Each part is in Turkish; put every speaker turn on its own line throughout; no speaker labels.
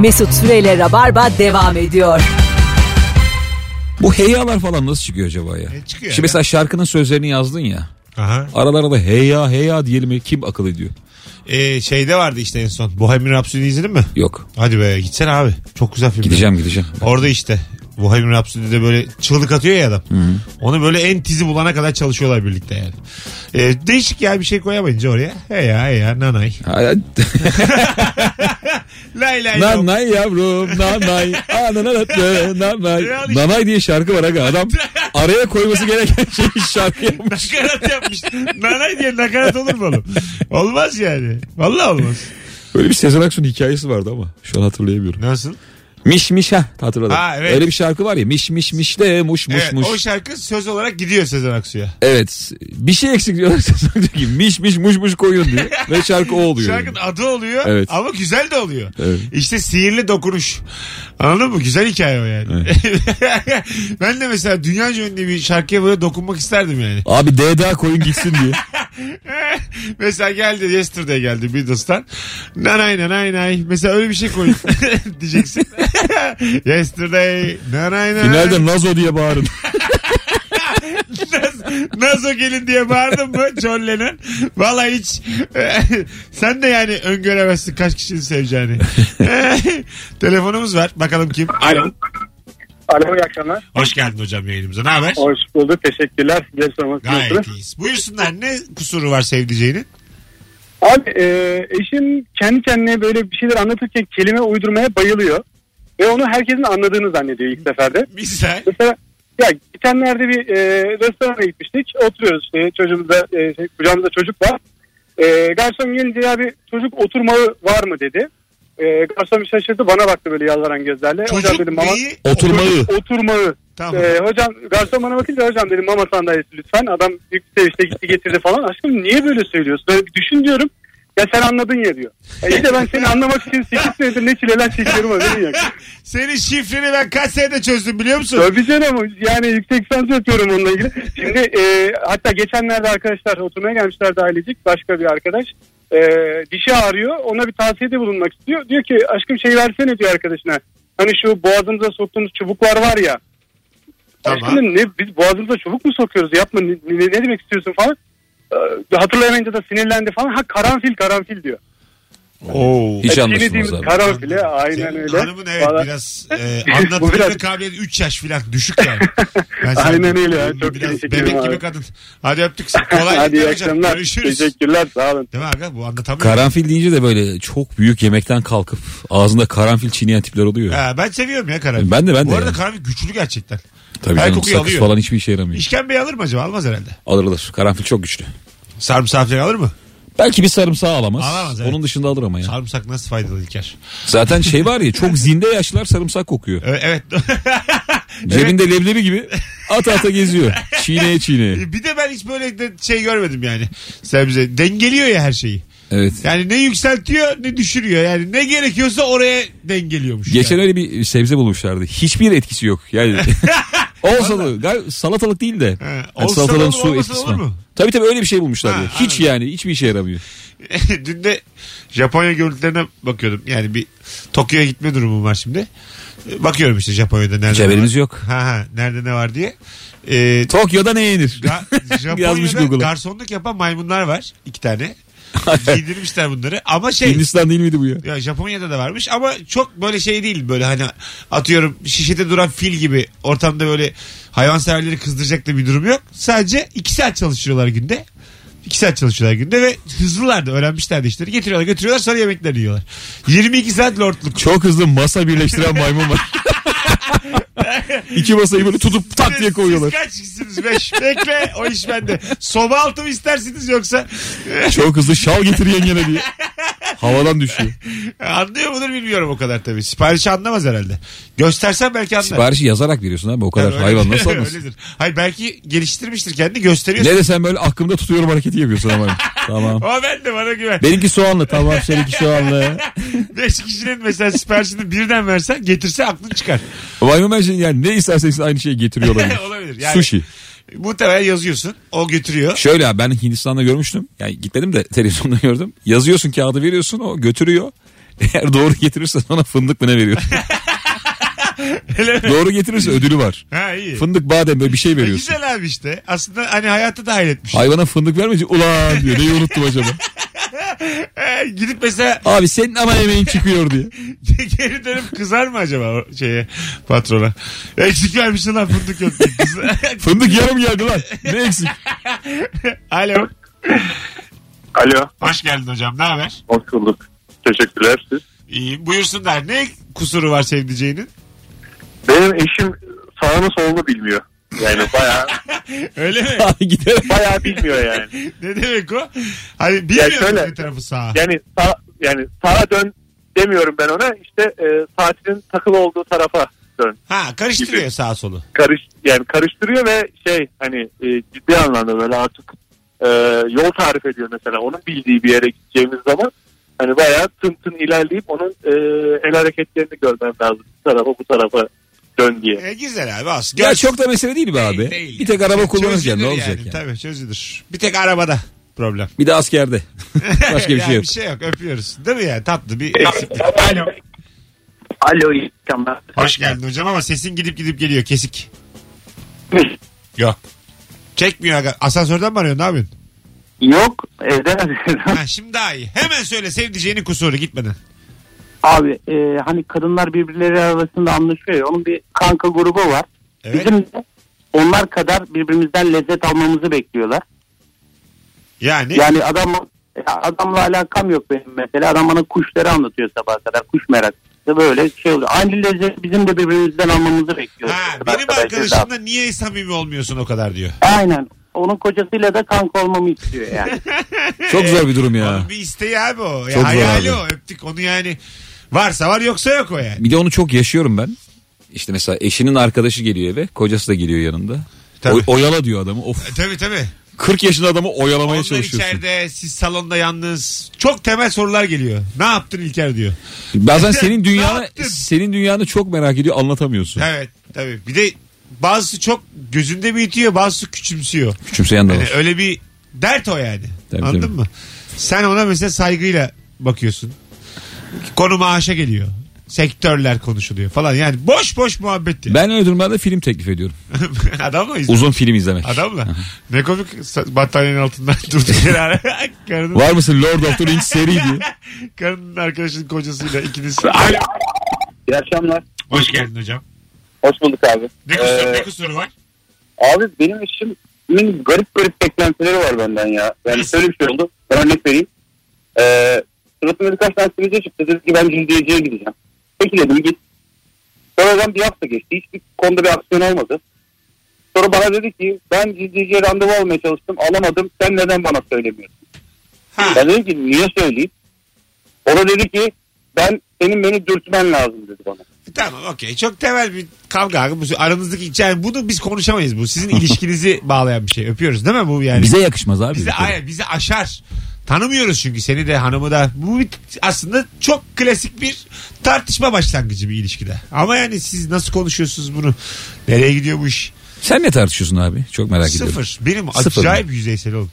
Mesut Süreyle Rabarba devam ediyor.
Bu heyalar falan nasıl çıkıyor acaba ya?
E, çıkıyor
Şimdi
ya.
mesela şarkının sözlerini yazdın ya.
Aha.
Aralara da heya heya diyelim mi? kim akıl ediyor?
Ee, şeyde vardı işte en son. Bohemian Rhapsody izledin mi?
Yok.
Hadi be gitsene abi. Çok güzel film.
Gideceğim gideceğim.
Orada işte Bohemian Rhapsody'de böyle çığlık atıyor ya adam. Onu böyle en tizi bulana kadar çalışıyorlar birlikte yani. Ee, değişik ya bir şey koyamayınca oraya. He ya he ya nanay.
Hayat-
Lay lay lom.
nanay yavrum nanay ananalatlı nanay.
Yani işte-
Nanay diye şarkı var aga adam araya koyması gereken şeyi şarkı yapmış.
Nakarat yapmış. nanay diye nakarat olur mu oğlum? Olmaz yani. Vallahi olmaz.
Böyle bir Sezen Aksu'nun hikayesi vardı ama şu an hatırlayamıyorum.
Nasıl?
Miş miş ha hatırladım.
Ha, evet.
Öyle bir şarkı var ya miş miş miş de muş muş
evet,
muş.
O şarkı söz olarak gidiyor Sezen Aksu'ya.
Evet bir şey eksik diyorlar Sezen Aksu diyor ki miş miş muş muş koyun diyor. Ve şarkı o oluyor.
Şarkının adı oluyor
Evet.
ama güzel de oluyor.
Evet.
İşte sihirli dokunuş. Anladın mı? Güzel hikaye o yani. ben de mesela dünyaca ünlü bir şarkıya böyle dokunmak isterdim yani.
Abi DDA koyun gitsin diye.
Mesela geldi yesterday geldi Beatles'tan. Nanay nanay nanay. Mesela öyle bir şey koyun diyeceksin. yesterday nanay nanay.
Finalde Nazo diye bağırın.
Nazo gelin diye bağırdın mı John Lennon? Valla hiç sen de yani öngöremezsin kaç kişinin seveceğini. Telefonumuz var. Bakalım kim?
Alo. Alo iyi akşamlar.
Hoş geldin hocam yayınımıza. Ne haber?
Hoş bulduk. Teşekkürler. Sizleri sormak
Gayet
istiyorum.
iyiyiz. Buyursunlar ne kusuru var sevdiceğinin?
Abi e, eşim kendi kendine böyle bir şeyler anlatırken kelime uydurmaya bayılıyor. Ve onu herkesin anladığını zannediyor ilk seferde.
Misal.
Mesela ya geçenlerde bir e, restorana gitmiştik. Oturuyoruz işte çocuğumuzda e, şey, kucağımızda çocuk var. E, garson gelince ya bir çocuk oturmağı var mı dedi. E, garson bir şaşırdı bana baktı böyle yalvaran gözlerle.
Çocuk
dedim, "Mama-
neyi?
Oturmayı.
Oturmağı.
Tamam.
Ee, hocam garson bana bakınca hocam dedim mama sandalyesi lütfen. Adam büyük bir sevinçle gitti getirdi falan. Aşkım niye böyle söylüyorsun? Böyle bir düşün diyorum. Ya sen anladın ya diyor. Ya işte ben seni anlamak için 8 senedir ne çileler çekiyorum haberin yok.
Senin şifreni ben kaç senede çözdüm biliyor musun?
Tabii canım yani yüksek lisans yapıyorum onunla ilgili. Şimdi e, hatta geçenlerde arkadaşlar oturmaya gelmişlerdi ailecik başka bir arkadaş. E, dişi ağrıyor ona bir tavsiyede bulunmak istiyor. Diyor ki aşkım şey versene diyor arkadaşına. Hani şu boğazımıza soktuğumuz çubuklar var ya.
Tamam.
Aşkım ne, biz boğazımıza çubuk mu sokuyoruz yapma ne, ne- ne demek istiyorsun falan. E, hatırlayamayınca da sinirlendi falan. Ha karanfil karanfil diyor.
Oo.
Hiç
E,
şey anlaşılmaz
dinlediğimiz
abi.
Karanfile aynen
Senin
öyle.
Hanımın evet
Vallahi-
biraz e,
Bu biraz-
anlatılma kabiliyeti 3 yaş falan düşük yani. Ben sana-
Aynen öyle ya, çok
biraz
teşekkür ederim
bebek
abi.
gibi kadın. Hadi öptük. seni. Kolay
Hadi iyi
gelsin hocam.
akşamlar.
Görüşürüz.
Teşekkürler sağ olun.
Değil mi aga bu anlatamıyorum.
Karanfil deyince de böyle çok büyük yemekten kalkıp ağzında karanfil çiğneyen tipler oluyor. ya.
Ha, ben seviyorum ya karanfil.
Ben de, ben
Bu
de
arada
yani.
karanfil güçlü gerçekten.
Tabii
Her
canım
kokuyu
sakız
alıyor.
falan hiçbir işe yaramıyor.
İşkembeyi alır mı acaba? Almaz herhalde.
Alır alır. Karanfil çok güçlü.
Sarımsak falan alır mı?
Belki bir sarımsağı alamaz.
Alamaz, evet.
Onun dışında alır ama ya.
Sarımsak nasıl faydalı İlker?
Zaten şey var ya çok zinde yaşlılar sarımsak kokuyor.
Ö- Evet.
Cebinde leblebi gibi ata ata geziyor. Çiğneye çiğneye.
bir de ben hiç böyle de şey görmedim yani. Sebze dengeliyor ya her şeyi.
Evet.
Yani ne yükseltiyor ne düşürüyor. Yani ne gerekiyorsa oraya dengeliyormuş.
Geçen
yani.
öyle bir sebze bulmuşlardı. Hiçbir etkisi yok. Yani olsa da gal- salatalık değil de.
He,
Yani
olsa
salatalığın
olur,
su
olmasa
etkisi
olur
var.
mu?
Tabii tabii öyle bir şey bulmuşlar.
Ha,
ya. Hiç yani hiçbir işe yaramıyor.
Dün de Japonya görüntülerine bakıyordum. Yani bir Tokyo'ya gitme durumum var şimdi. Ee, Bakıyorum işte Japonya'da nerede
Hiç haberimiz yok.
Ha ha nerede ne var diye. Ee,
Tokyo'da ne yenir?
Ga-
Yazmış
Japonya'da
Google'a.
garsonluk yapan maymunlar var. iki tane. Giydirmişler bunları. Ama şey
Hindistan değil miydi bu ya?
ya Japonya'da da varmış ama çok böyle şey değil böyle hani atıyorum şişede duran fil gibi ortamda böyle hayvanseverleri kızdıracak da bir durum yok. Sadece iki saat çalışıyorlar günde. İki saat çalışıyorlar günde ve hızlılar da öğrenmişler de işleri. Getiriyorlar götürüyorlar sonra yemeklerini yiyorlar. 22 saat lordluk.
Çok hızlı masa birleştiren maymun var. İki masayı böyle tutup tak diye koyuyorlar.
Siz kaç kişisiniz? Beş. Bekle o iş bende. Soba altı mı istersiniz yoksa?
Çok hızlı şal getir yengene diye. Havadan düşüyor.
Anlıyor mudur bilmiyorum o kadar tabii. Siparişi anlamaz herhalde. Göstersen belki anlar.
Siparişi yazarak veriyorsun abi o kadar
Öyledir.
hayvan nasıl anlasın?
Öyledir. Hayır belki geliştirmiştir kendi gösteriyorsun.
Ne de sen böyle aklımda tutuyorum hareketi yapıyorsun ama. tamam.
Ama ben de bana güven.
Benimki soğanlı tamam seninki soğanlı.
Beş kişinin mesela siparişini birden versen getirse aklın çıkar.
Maymun ben şey- yani ne isterseniz aynı şeyi getiriyor olabilir.
Olabilir. Yani
Sushi.
Muhtemelen yazıyorsun. O götürüyor.
Şöyle abi, ben Hindistan'da görmüştüm. Yani gitmedim de televizyonda gördüm. Yazıyorsun kağıdı veriyorsun o götürüyor. Eğer doğru getirirse sana fındık mı ne veriyor?
Öyle mi?
doğru getirirse ödülü var.
Ha iyi.
Fındık badem böyle bir şey
E,
veriyorsun.
güzel abi işte. Aslında hani hayatı dahil etmiş.
Hayvana fındık vermeyince ulan diyor. Neyi unuttum acaba?
E, gidip mesela
Abi senin ama emeğin çıkıyor diye.
geri dönüp kızar mı acaba o şeye patrona? Eksik vermişsin lan fındık yok. diye. Kız-
Fındık yarım geldi lan. Ne eksik?
Alo.
Alo.
Hoş geldin hocam. Ne haber?
Hoş bulduk. Teşekkürler siz.
İyi. Buyursunlar. Ne kusuru var sevdiceğinin?
Benim eşim sağını solunu bilmiyor. Yani baya
Öyle mi?
Abi gider.
baya bilmiyor yani.
ne demek o? Hani bilmiyorum
şöyle-
ne tarafı sağa.
Yani sağ, yani sağa dön demiyorum ben ona. İşte e, saatinin takılı olduğu tarafa dön.
Ha karıştırıyor
Gibi.
sağa solu.
Karış yani karıştırıyor ve şey hani e, ciddi anlamda böyle artık e, yol tarif ediyor mesela. Onun bildiği bir yere gideceğimiz zaman hani bayağı tın tın ilerleyip onun e, el hareketlerini görmem lazım. Bu tarafa bu tarafa dön diye.
E, güzel abi aslında.
Ya çok da mesele değil be abi.
Değil, değil.
bir tek araba kullanırken ne
Çözülür
olacak
yani,
yani?
Tabii çözülür. Bir tek arabada problem.
Bir de askerde. Başka bir
Yani
şey yok.
Bir şey yok öpüyoruz. Değil mi yani tatlı bir eksiklik. Alo.
Alo iyi akşamlar.
Hoş geldin hocam ama sesin gidip gidip geliyor kesik. Yok. Çekmiyor aga. Asansörden mi arıyorsun ne yapıyorsun?
Yok evden arıyorum.
Ha, şimdi daha iyi. Hemen söyle sevdiceğinin kusuru gitmeden.
Abi e, hani kadınlar birbirleri arasında anlaşıyor ya onun bir kanka grubu var.
Evet.
Bizim de onlar kadar birbirimizden lezzet almamızı bekliyorlar.
Yani
Yani adam e, adamla alakam yok benim mesela. Adam bana kuşları anlatıyor sabaha kadar. Kuş meraklısı böyle şey oluyor. Aynı lezzet bizim de birbirimizden almamızı bekliyor.
ha,
Arkadaşlar,
benim arkadaşımla
lezzet
niye samimi olmuyorsun o kadar diyor.
al- Aynen. Onun kocasıyla da kanka olmamı istiyor yani.
Çok zor bir durum
Onun
ya.
bir isteği abi o. Ya,
Çok zor
hayali
abi.
o. Öptük onu yani. Varsa var yoksa yok o yani.
Bir de onu çok yaşıyorum ben. İşte mesela eşinin arkadaşı geliyor eve. Kocası da geliyor yanında.
Tabii.
Oy- oyala diyor adamı. Of.
E, Tabii tabii.
40 yaşında adamı oyalamaya
Onlar
çalışıyorsun.
içeride siz salonda yalnız. Çok temel sorular geliyor. Ne yaptın İlker diyor.
Bazen senin
Ne
dünyanı
yaptın?
senin dünyanı çok merak ediyor anlatamıyorsun.
Evet tabii. Bir de bazısı çok gözünde büyütüyor bazısı küçümsüyor.
Küçümseyen de
Yani
var.
öyle bir dert o yani.
Tabii,
Anladın
tabii.
mı? Sen ona mesela saygıyla bakıyorsun. Konu maaşa geliyor. Sektörler konuşuluyor falan. Yani boş boş muhabbet. ya.
Ben öyle durumlarda film teklif ediyorum.
Adamla izle.
Uzun film izlemek.
Adamla. ne komik sa- battaniyenin altından durduk yere. ara- Karının,
Var mısın Lord of the Rings seri
Hani-
diye.
karının arkadaşının kocasıyla ikiniz.
İyi akşamlar.
Hoş geldin hocam. Ee,
Hoş bulduk abi.
Ne kusuru,
Ee,
ne kusuru var?
Abi benim eşimin garip garip beklentileri var benden ya. Yani şöyle bir şey oldu. Ben örnek vereyim. Ee, suratımda birkaç tane sivilce çıktı. Dedi ki ben cildiyeciye gideceğim. Peki dedim git. Sonradan bir hafta geçti. Hiçbir konuda bir aksiyon olmadı. Sonra bana dedi ki ben cildiyeciye randevu almaya çalıştım. Alamadım. Sen neden bana söylemiyorsun?
Ha.
Ben dedim ki niye söyleyeyim? O da dedi ki ben senin beni dürtmen lazım dedi bana.
Tamam okey. Çok temel bir kavga. abi. Bu aranızdaki yani bunu biz konuşamayız bu. Sizin ilişkinizi bağlayan bir şey. Öpüyoruz değil mi bu yani?
Bize yakışmaz abi.
bizi, aynen, bizi aşar. Tanımıyoruz çünkü seni de hanımı da. Bu bir- aslında çok klasik bir tartışma başlangıcı bir ilişkide. Ama yani siz nasıl konuşuyorsunuz bunu? Nereye gidiyor bu iş?
Sen ne tartışıyorsun abi? Çok merak ediyorum.
Sıfır. Benim
Sıfır
acayip yüzeysel oğlum.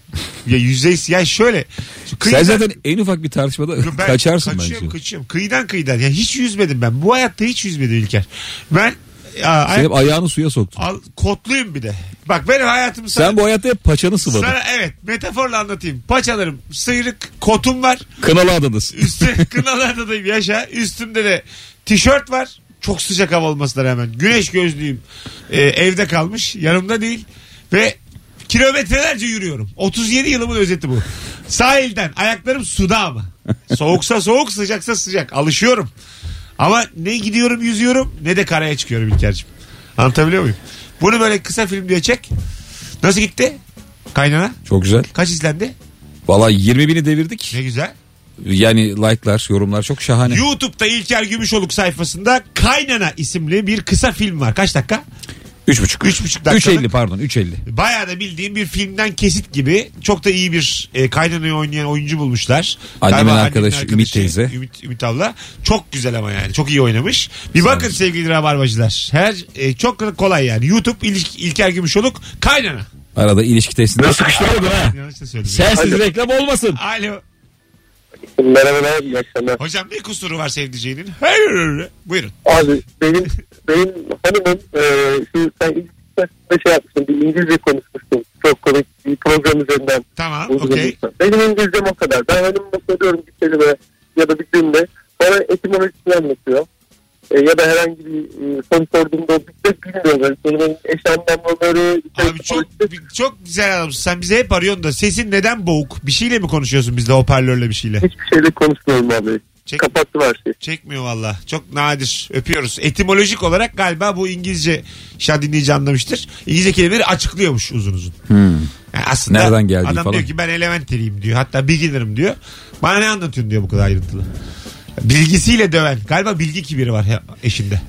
Ya yüzeysel. Yani şöyle. şu
Sen
kıyıdan-
zaten en ufak bir tartışmada
ben
kaçarsın
kaçıyorum,
bence.
Kaçıyorum Kıyıdan kıyıdan. Ya hiç yüzmedim ben. Bu hayatta hiç yüzmedim İlker. Ben ya,
Sen hep ayağını suya soktun.
Al, kotluyum bir de. Bak benim hayatım sana,
Sen bu hayatta hep paçanı sıvadın.
sana evet metaforla anlatayım. Paçalarım sıyrık, kotum var.
Kınalı adadasın.
Üstü kınalarda da yaşa. Üstümde de tişört var. Çok sıcak hava olmasına rağmen. Güneş gözlüğüm e, evde kalmış. Yanımda değil. Ve kilometrelerce yürüyorum. 37 yılımın özeti bu. Sahilden ayaklarım suda ama. Soğuksa soğuk sıcaksa sıcak. Alışıyorum. Ama ne gidiyorum yüzüyorum ne de karaya çıkıyorum İlker'cim. Anlatabiliyor muyum? Bunu böyle kısa film diye çek. Nasıl gitti? Kaynana.
Çok güzel.
Kaç izlendi?
Valla 20 bini devirdik.
Ne güzel.
Yani like'lar, yorumlar çok şahane.
YouTube'da İlker Gümüşoluk sayfasında Kaynana isimli bir kısa film var. Kaç dakika?
3,5.
Üç buçuk dakikalık.
3.50 pardon 3.50.
Bayağı da bildiğim bir filmden kesit gibi. Çok da iyi bir e, Kaynana'yı oynayan oyuncu bulmuşlar.
Annemin
Galiba şey,
arkadaşı Ümit teyze.
Ümit, Ümit abla. Çok güzel ama yani. Çok iyi oynamış. Bir bakın sevgili rabarbacılar. Her e, çok kolay yani. YouTube İl- İlker Gümüşoluk Kaynana.
Arada ilişki testinde sıkıştırıyordun ha.
Yanlış da söyledim.
Sensiz reklam olmasın.
Alo.
Merhabalar, iyi akşamlar.
Hocam ne kusuru var sevdiceğinin? Hayır. Buyurun.
Abi benim benim hanımım e, şu sen İngilizce şey yapmıştın bir İngilizce konuşmuştun çok komik bir program üzerinden.
Tamam.
uzun
Okey.
uzun. Benim İngilizcem o kadar. Ben hanımıma soruyorum bir kelime ya da bir cümle. Bana etimolojisini anlatıyor. E, ya da herhangi bir e, soru sorduğumda o bir de bilmiyor. Yani kelimenin eş anlamları. işte
Abi çok
etimolojisi.
bi- çok güzel adamsın. Sen bize hep arıyorsun da sesin neden boğuk? Bir şeyle mi konuşuyorsun bizde hoparlörle bir şeyle?
Hiçbir şeyle konuşmuyorum abi.
Çek-
Kapattım her şeyi.
Çekmiyor valla. Çok nadir. Öpüyoruz. Etimolojik olarak galiba bu İngilizce şah dinleyici anlamıştır. İngilizce kelimeleri açıklıyormuş uzun uzun. Yani aslında
Hmm. Nereden geldiği
adam
falan.
diyor ki ben elementary'im diyor. Hatta beginner'ım diyor. Bana ne anlatıyorsun diyor bu kadar ayrıntılı. Bilgisiyle döven. Galiba bilgi kibiri var ya- eşinde.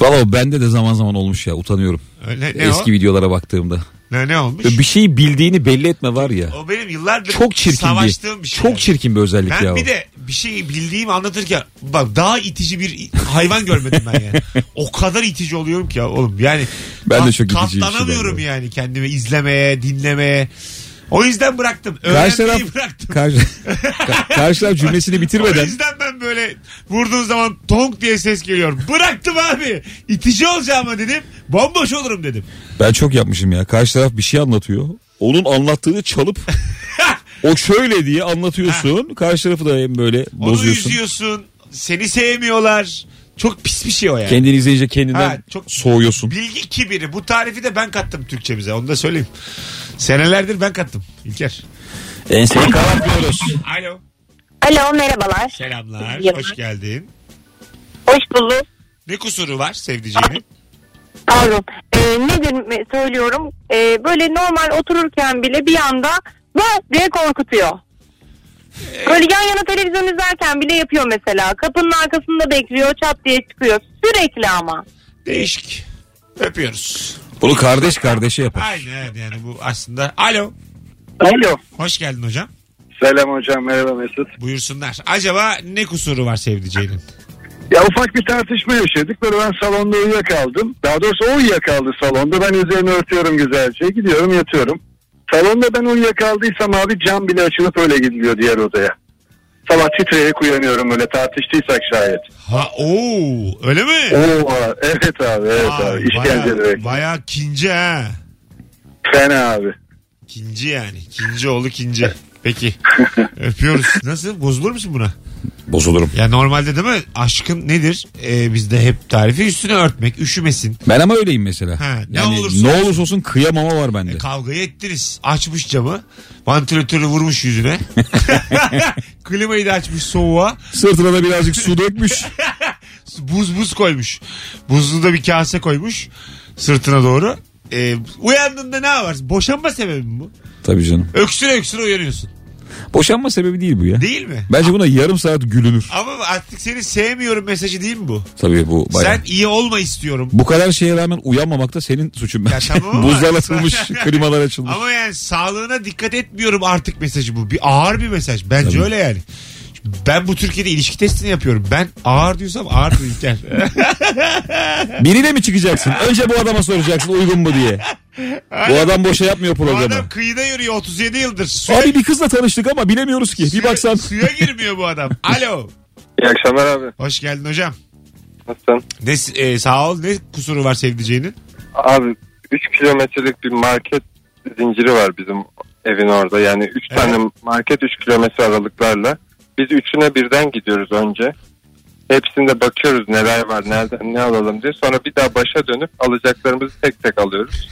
Valla o bende de zaman zaman olmuş ya utanıyorum.
Öyle, ne
Eski
o?
videolara baktığımda.
Ne, ne olmuş?
Böyle bir şeyi bildiğini belli etme var ya.
O benim yıllardır
Çok çirkin
savaştığım
bir.
bir şey.
Çok çirkin bir özellik
Ben
ya. o.
bir de bir şeyi bildiğimi anlatırken bak daha itici bir hayvan görmedim ben yani. o kadar itici oluyorum ki ya oğlum yani.
Ben de
kat-
çok şey iticiyim
Katlanamıyorum
şimdi.
yani kendimi izlemeye, dinlemeye. O yüzden bıraktım.
Karşı
Öğrenmeyi
taraf,
bıraktım.
karşı, Ka- karşı taraf cümlesini
O
bitirmeden
yüzden ben böyle vurduğum zaman tonk diye ses geliyor. Bıraktım abi. İtici olacağıma dedim. Bomboş olurum dedim.
ben çok yapmışım ya. Karşı taraf bir şey anlatıyor. Onun anlattığını çalıp o şöyle diye anlatıyorsun. Karşı tarafı da hem böyle
Onu
bozuyorsun.
üzüyorsun. Seni sevmiyorlar. Çok pis bir şey o yani.
Kendini izleyince kendinden
Ha, çok-
soğuyorsun.
Bilgi kibiri. Bu tarifi de ben kattım Türkçemize. Onu da söyleyeyim. Senelerdir ben kattım. İlker.
Enseni karartıyoruz.
Alo.
Alo merhabalar.
Selamlar.
Merhaba.
Hoş geldin.
Hoş bulduk.
Ne kusuru var sevdiceğinin?
Pardon. Ee, nedir mi- söylüyorum. Ee, böyle normal otururken bile bir anda vah diye korkutuyor. Böyle yan yana televizyon izlerken bile yapıyor mesela. Kapının arkasında bekliyor çat diye çıkıyor. Sürekli ama.
Değişik. Öpüyoruz.
Bunu kardeş kardeşe yapar.
Aynen evet yani bu aslında. Alo.
Alo.
Hoş geldin hocam.
Selam hocam merhaba Mesut.
Buyursunlar. Acaba ne kusuru var sevdiceğinin?
Ya ufak bir tartışma yaşadık. Böyle ben salonda uyuyakaldım. Daha doğrusu o uyuyakaldı salonda. Ben üzerine örtüyorum güzelce. Gidiyorum yatıyorum. Salonda ben uyuyakaldıysam abi cam bile açılıp öyle gidiliyor diğer odaya. Sabah titreyerek uyanıyorum öyle tartıştıysak şayet.
Ha ooo öyle mi?
Oo, aa, evet abi evet
Aa,
abi işkence
bayağı,
direkt.
bayağı kinci ha.
Fena abi.
Kinci yani. Kinci oğlu kinci. Peki. Öpüyoruz. Nasıl? Bozulur musun buna?
Bozulurum.
Ya normalde değil mi? Aşkın nedir? Ee, bizde hep tarifi üstüne örtmek, üşümesin.
Ben ama öyleyim mesela.
Ha, ne
yani
olursa E,
ne olursa olsun kıyamama var bende.
Kavgayı ettiniz. Açmış camı. Vantilatörü vurmuş yüzüne. Klimayı da açmış soğuğa.
Sırtına da birazcık su dökmüş.
Buz buz koymuş. Buzlu da bir kase koymuş. Sırtına doğru. Ee, uyandığında ne var? Boşanma sebebi mi bu?
Tabii canım.
Öksüre öksüre uyanıyorsun.
Boşanma sebebi değil bu ya.
Değil mi?
Bence buna yarım saat gülünür.
Ama artık seni sevmiyorum mesajı değil mi bu?
Tabii bu bayağı.
Sen iyi olma istiyorum.
Bu kadar şeye rağmen uyanmamak da senin suçun bence.
tamam ama-
Buzlar atılmış, klimalar açılmış.
Ama yani sağlığına dikkat etmiyorum artık mesajı bu. Bir ağır bir mesaj. Bence
Tabii.
öyle yani. Ben bu Türkiye'de ilişki testini yapıyorum. Ben ağır diyorsam ağır İlker.
Biriyle mi çıkacaksın? Önce bu adama soracaksın uygun mu diye. Bu adam boşa yapmıyor
bu
programı.
adam kıyıda yürüyor 37 yıldır. Suya,
Abi bir kızla tanıştık ama bilemiyoruz ki. Bir
suya-
baksan.
Suya girmiyor bu adam. Alo.
İyi akşamlar abi.
Hoş geldin hocam.
Nasılsın?
Ne, e, sağ ol. Ne kusuru var sevdiceğinin?
Abi 3 kilometrelik bir market zinciri var bizim evin orada. Yani 3
Evet.
tane market 3 kilometre aralıklarla. Biz üçüne birden gidiyoruz önce. Hepsinde bakıyoruz neler var, nereden ne alalım diye. Sonra bir daha başa dönüp alacaklarımızı tek tek alıyoruz.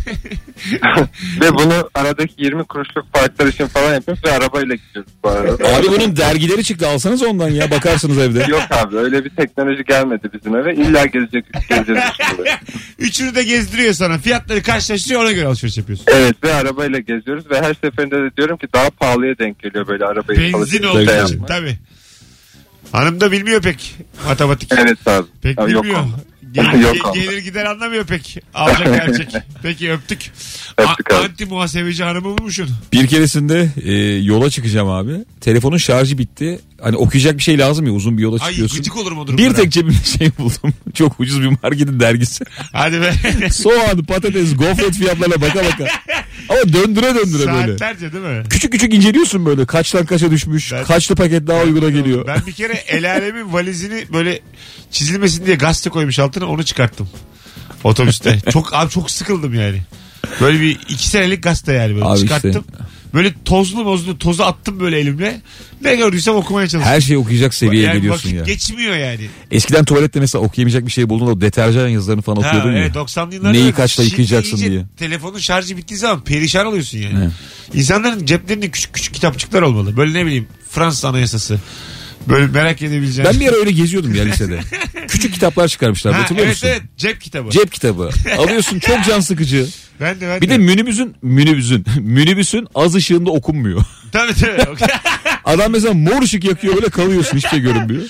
ve bunu aradaki 20 kuruşluk farklar için falan yapıyoruz ve arabayla gidiyoruz bu arada.
Abi bunun dergileri çıktı alsanız ondan ya bakarsınız evde.
Yok abi öyle bir teknoloji gelmedi bizim eve. İlla gelecek, geleceğiz üstünde.
Üçünü de gezdiriyor sana. Fiyatları karşılaştırıyor ona göre alışveriş yapıyorsun.
Evet ve arabayla geziyoruz ve her seferinde de diyorum ki daha pahalıya denk geliyor böyle arabayı.
Benzin
çalışıp
olduğu
şey
için.
yapmak.
Tabii. Hanım da bilmiyor pek matematik.
Evet abi.
Pek
Ya,
bilmiyor.
onda.
Gelir,
Yok
ge-
onda.
gelir gider anlamıyor pek. Alacak gerçek. Peki öptük.
Öptük
A-
abi.
anti muhasebeci hanımı bulmuşsun.
Bir keresinde e, yola çıkacağım abi. Telefonun şarjı bitti. Hani okuyacak bir şey lazım ya uzun bir yola
Ay
çıkıyorsun.
gıcık olurum o durumda.
bir tek cebimde şey buldum. Çok ucuz bir marketin dergisi.
Hadi be.
Soğan, patates, gofret fiyatlarına baka baka. Ama döndüre döndüre böyle.
Saatlerce değil mi?
Küçük küçük inceliyorsun böyle. Kaçtan kaça düşmüş.
Ben-
kaçlı paket daha uyguna geliyor.
Ben bir kere el alemin valizini böyle çizilmesin diye gazete koymuş altına onu çıkarttım. Otobüste. çok abi çok sıkıldım yani. Böyle bir iki senelik gazete yani böyle
Abi işte.
çıkarttım. Böyle tozlu bozlu tozu attım böyle elimle. Ne gördüysem okumaya çalıştım.
Her şeyi okuyacak seviyeye
yani
geliyorsun
vakit
ya.
geçmiyor yani.
Eskiden tuvalette mesela okuyamayacak bir şey bulduğunda o deterjan yazılarını falan
Ha,
okuyordun ya.
evet 90'lı yıllarda.
Neyi kaçta
Şimdi
yıkayacaksın
iyice
diye.
Telefonun şarjı bittiği zaman perişan oluyorsun yani. İnsanların ceplerinde küçük küçük kitapçıklar olmalı. Böyle ne bileyim Fransız anayasası. Böyle merak edebileceğin.
Ben bir ara öyle geziyordum ya lisede. Küçük kitaplar çıkarmışlar
Ha,
hatırlıyor
evet
musun?
evet cep kitabı.
Cep kitabı. Alıyorsun çok can sıkıcı.
Ben de ben
Bir de minibüsün minibüsün minibüsün az ışığında okunmuyor.
tabii tabii. Okey.
Adam mesela mor ışık yakıyor böyle kalıyorsun hiçbir şey görünmüyor.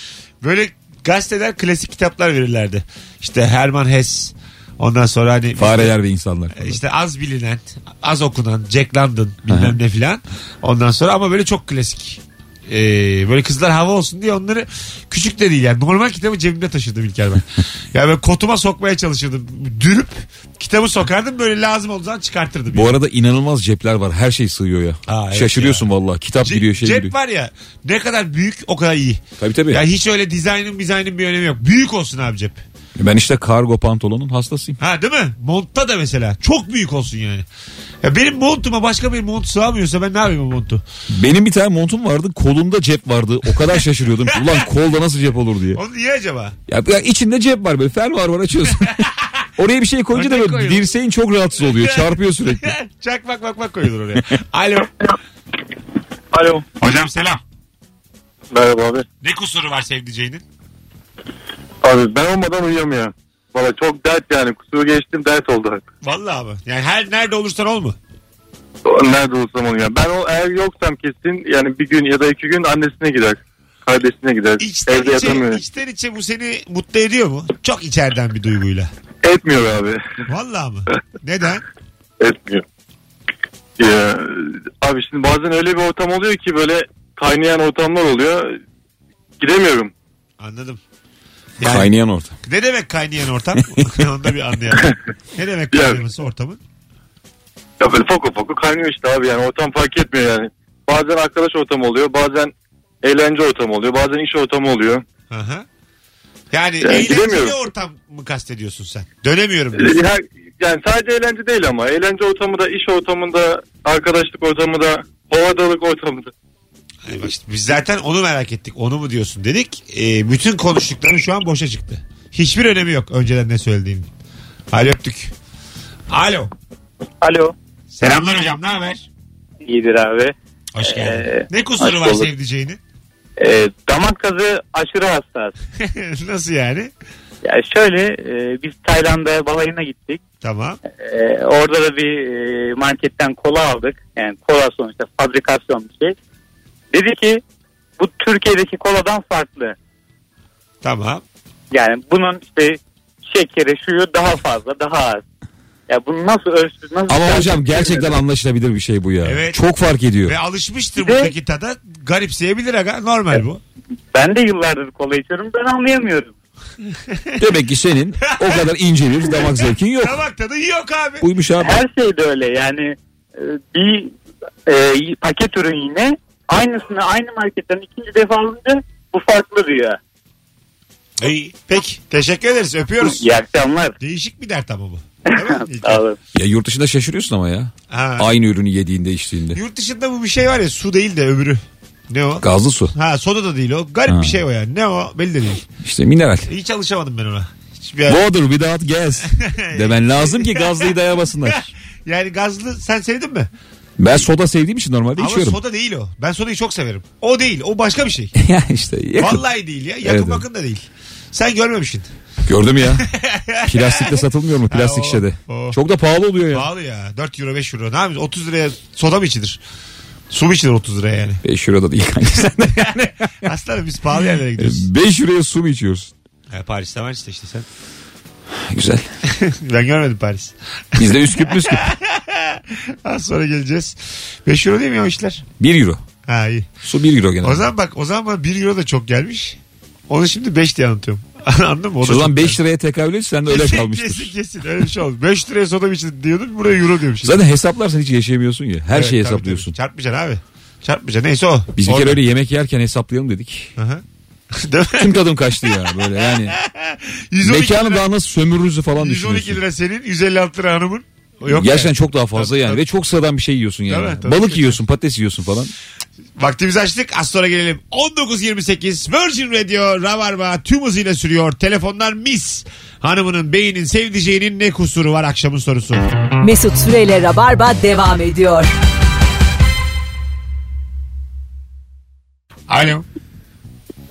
Böyle gazeteler klasik kitaplar verirlerdi. İşte Herman Hess. Ondan sonra hani
Fareler ve insanlar. falan.
E işte az bilinen, az okunan Jack London bilmem ne filan. Ondan sonra ama böyle çok klasik. Ee, böyle kızlar hava olsun diye onları küçük de değil yani. Normal kitabı cebimde taşırdım İlker ben. yani böyle kotuma sokmaya çalışırdım. Dürüp kitabı sokardım böyle lazım olduğu zaman çıkartırdım.
Bu arada inanılmaz cepler var. Her şey sığıyor ya.
Aa, evet
Şaşırıyorsun vallahi. Kitap
Ce-
giriyor, şey
cep
giriyor.
var ya ne kadar büyük o kadar iyi.
Tabii tabii.
Ya hiç öyle dizaynın dizaynın bir önemi yok. Büyük olsun abi cep.
Ben işte kargo pantolonun hastasıyım.
Ha değil mi? Montta da mesela çok büyük olsun yani. Ya benim montuma başka bir mont sığamıyorsa ben ne yapayım o montu?
Benim bir tane montum vardı. Kolumda cep vardı. O kadar şaşırıyordum. ki, Ulan kolda nasıl cep olur diye.
Onu niye acaba?
Ya, ya içinde cep var böyle. Fermuar var açıyorsun. Oraya bir şey koyunca da
Örnek
böyle
koyuyorum.
dirseğin çok rahatsız oluyor. Çarpıyor sürekli.
Çak bak bak bak koyulur oraya. Alo.
Alo.
Hocam selam.
Merhaba abi.
Ne kusuru var sevdiceğinin?
Abi ben olmadan uyuyamıyorum. Valla çok dert yani kusuru geçtim dert oldu.
Vallahi abi. Yani her nerede olursan ol mu?
Nerede olsam onu ya. Ben o, eğer yoksam kesin yani bir gün ya da iki gün annesine gider. Kardeşine gider.
İçten
Evde
içe,
yatamıyor.
içten içe bu seni mutlu ediyor mu? Çok içeriden bir duyguyla.
Etmiyor abi.
Vallahi mı? Neden?
Etmiyor. Ya, abi şimdi bazen öyle bir ortam oluyor ki böyle kaynayan ortamlar oluyor. Gidemiyorum.
Anladım. Yani-
Kaynayan orta.
Ne demek kaynayan ortam? Onu da bir anlayalım. Ne demek
Yani-
kaynaması ortamın?
Ya böyle fokur fokur kaynıyor işte abi yani ortam fark etmiyor yani. Bazen arkadaş ortamı oluyor bazen eğlence ortamı oluyor bazen iş ortamı oluyor.
Aha. Yani
Yani
eğlenceli
gidemiyorum.
ortam mı kastediyorsun sen? Dönemiyorum. diyorsun.
Ya, yani sadece eğlence değil ama eğlence ortamı da iş ortamında arkadaşlık ortamı da havadalık ortamı da.
Ay bak işte biz zaten onu merak ettik. Onu mu diyorsun dedik. Ee, bütün konuştukların şu an boşa çıktı. Hiçbir önemi yok önceden ne söylediğin. Hadi öptük. Alo.
Alo.
Selamlar hocam ne haber?
İyidir abi.
Hoş geldin.
Ee,
ne kusuru
hoş
var
bulduk.
sevdiceğinin?
Ee, damak kazı aşırı hassas.
Nasıl yani?
Ya şöyle e, biz Tayland'a balayına gittik.
Tamam.
Ee, orada da bir e, marketten kola aldık. Yani kola sonuçta fabrikasyon bir şey. Dedi ki bu Türkiye'deki koladan farklı.
Tamam.
Yani bunun işte şekeri şuyu daha fazla daha az. Ya bunu nasıl ölçtü nasıl
Ama
tartıştı
hocam gerçekten
bilmiyorum.
anlaşılabilir bir şey bu ya.
Evet.
Çok fark ediyor.
Ve alışmıştır
Bir de-
buradaki tada. Garipseyebilir aga. Normal bu.
Ben de yıllardır kola içiyorum ben anlayamıyorum.
Demek ki senin o kadar ince bir damak zevkin yok.
Damak tadı yok abi.
Uymuş abi.
Her şey de öyle yani e, bir e, paket ürün yine aynısını aynı marketten ikinci defa alınca bu farklı diyor.
İyi. Peki. Teşekkür ederiz. Öpüyoruz.
İyi akşamlar.
Değişik bir dert ama bu. Değil mi?
Sağ olun.
Ya yurt dışında şaşırıyorsun ama ya.
Ha.
Aynı ürünü yediğinde içtiğinde.
Yurt dışında bu bir şey var ya su değil de öbürü. Ne o?
Gazlı su.
Ha soda da değil o. Garip
Ha.
bir şey o yani. Ne o? Belli de değil.
İşte mineral.
Hiç alışamadım ben ona. Hiçbir
Water without gas. Demen lazım ki gazlıyı dayamasınlar.
yani gazlı sen sevdin mi?
Ben soda sevdiğim için normalde
Ama
içiyorum.
soda değil o. Ben sodayı çok severim. O değil. O başka bir şey.
ya işte yakın.
Vallahi değil ya. Yakın
Evet,
bakın da değil. Sen görmemişsin.
Gördüm ya. Plastikte satılmıyor mu
Ha, o,
plastik şişede?
o.
Çok da pahalı oluyor ya.
Pahalı ya. 4 euro 5 euro. Ne yapayım? 30 liraya soda mı içilir? Su mu içilir 30 liraya yani?
5 euro da değil kanka. Sen de-
Aslanım biz pahalı yerlere gidiyoruz.
5 euroya su mu içiyorsun?
Ha, Paris'te var işte işte sen.
Güzel.
ben görmedim Paris.
Bizde üsküp müsküp.
Az sonra geleceğiz. 5 euro değil mi o işler?
1 euro.
Ha iyi.
Su 1 euro genelde.
O zaman bak o zaman bana 1 euro da çok gelmiş. Onu şimdi 5 diye anlatıyorum. Anladın mı? O da
O zaman
çok-
5 liraya tekabül et sen de öyle
Kesin,
kalmıştın.
Kesin kesin öyle bir şey oldu. 5 liraya soda mı içtin diyordun buraya euro diyormuş.
Zaten hesaplarsan hiç yaşayamıyorsun ya. Her
Evet,
şeyi
tabii,
hesaplıyorsun.
tabii. Çarpmayacaksın abi. Çarpmayacaksın neyse o.
Biz bir
Orada.
kere öyle yemek yerken hesaplayalım dedik.
Aha. Değil mi?
Tüm tadım kaçtı ya böyle yani.
112
Mekanı
lira,
daha nasıl sömürürüzü falan
112
düşünüyorsun.
lira senin 156 lira hanımın. O Yok
Gerçekten
yani.
çok daha fazla
Tabii,
yani
tabii.
ve çok sıradan bir şey yiyorsun yani.
Tabii, tabii.
Balık yiyorsun, patates yiyorsun falan.
Vaktimizi açtık az sonra gelelim. 19.28 Virgin Radio Rabarba tüm hızıyla sürüyor. Telefonlar mis. Hanımının beynin sevdiceğinin ne kusuru var akşamın sorusu.
Mesut Süreyle Rabarba devam ediyor.
Alo.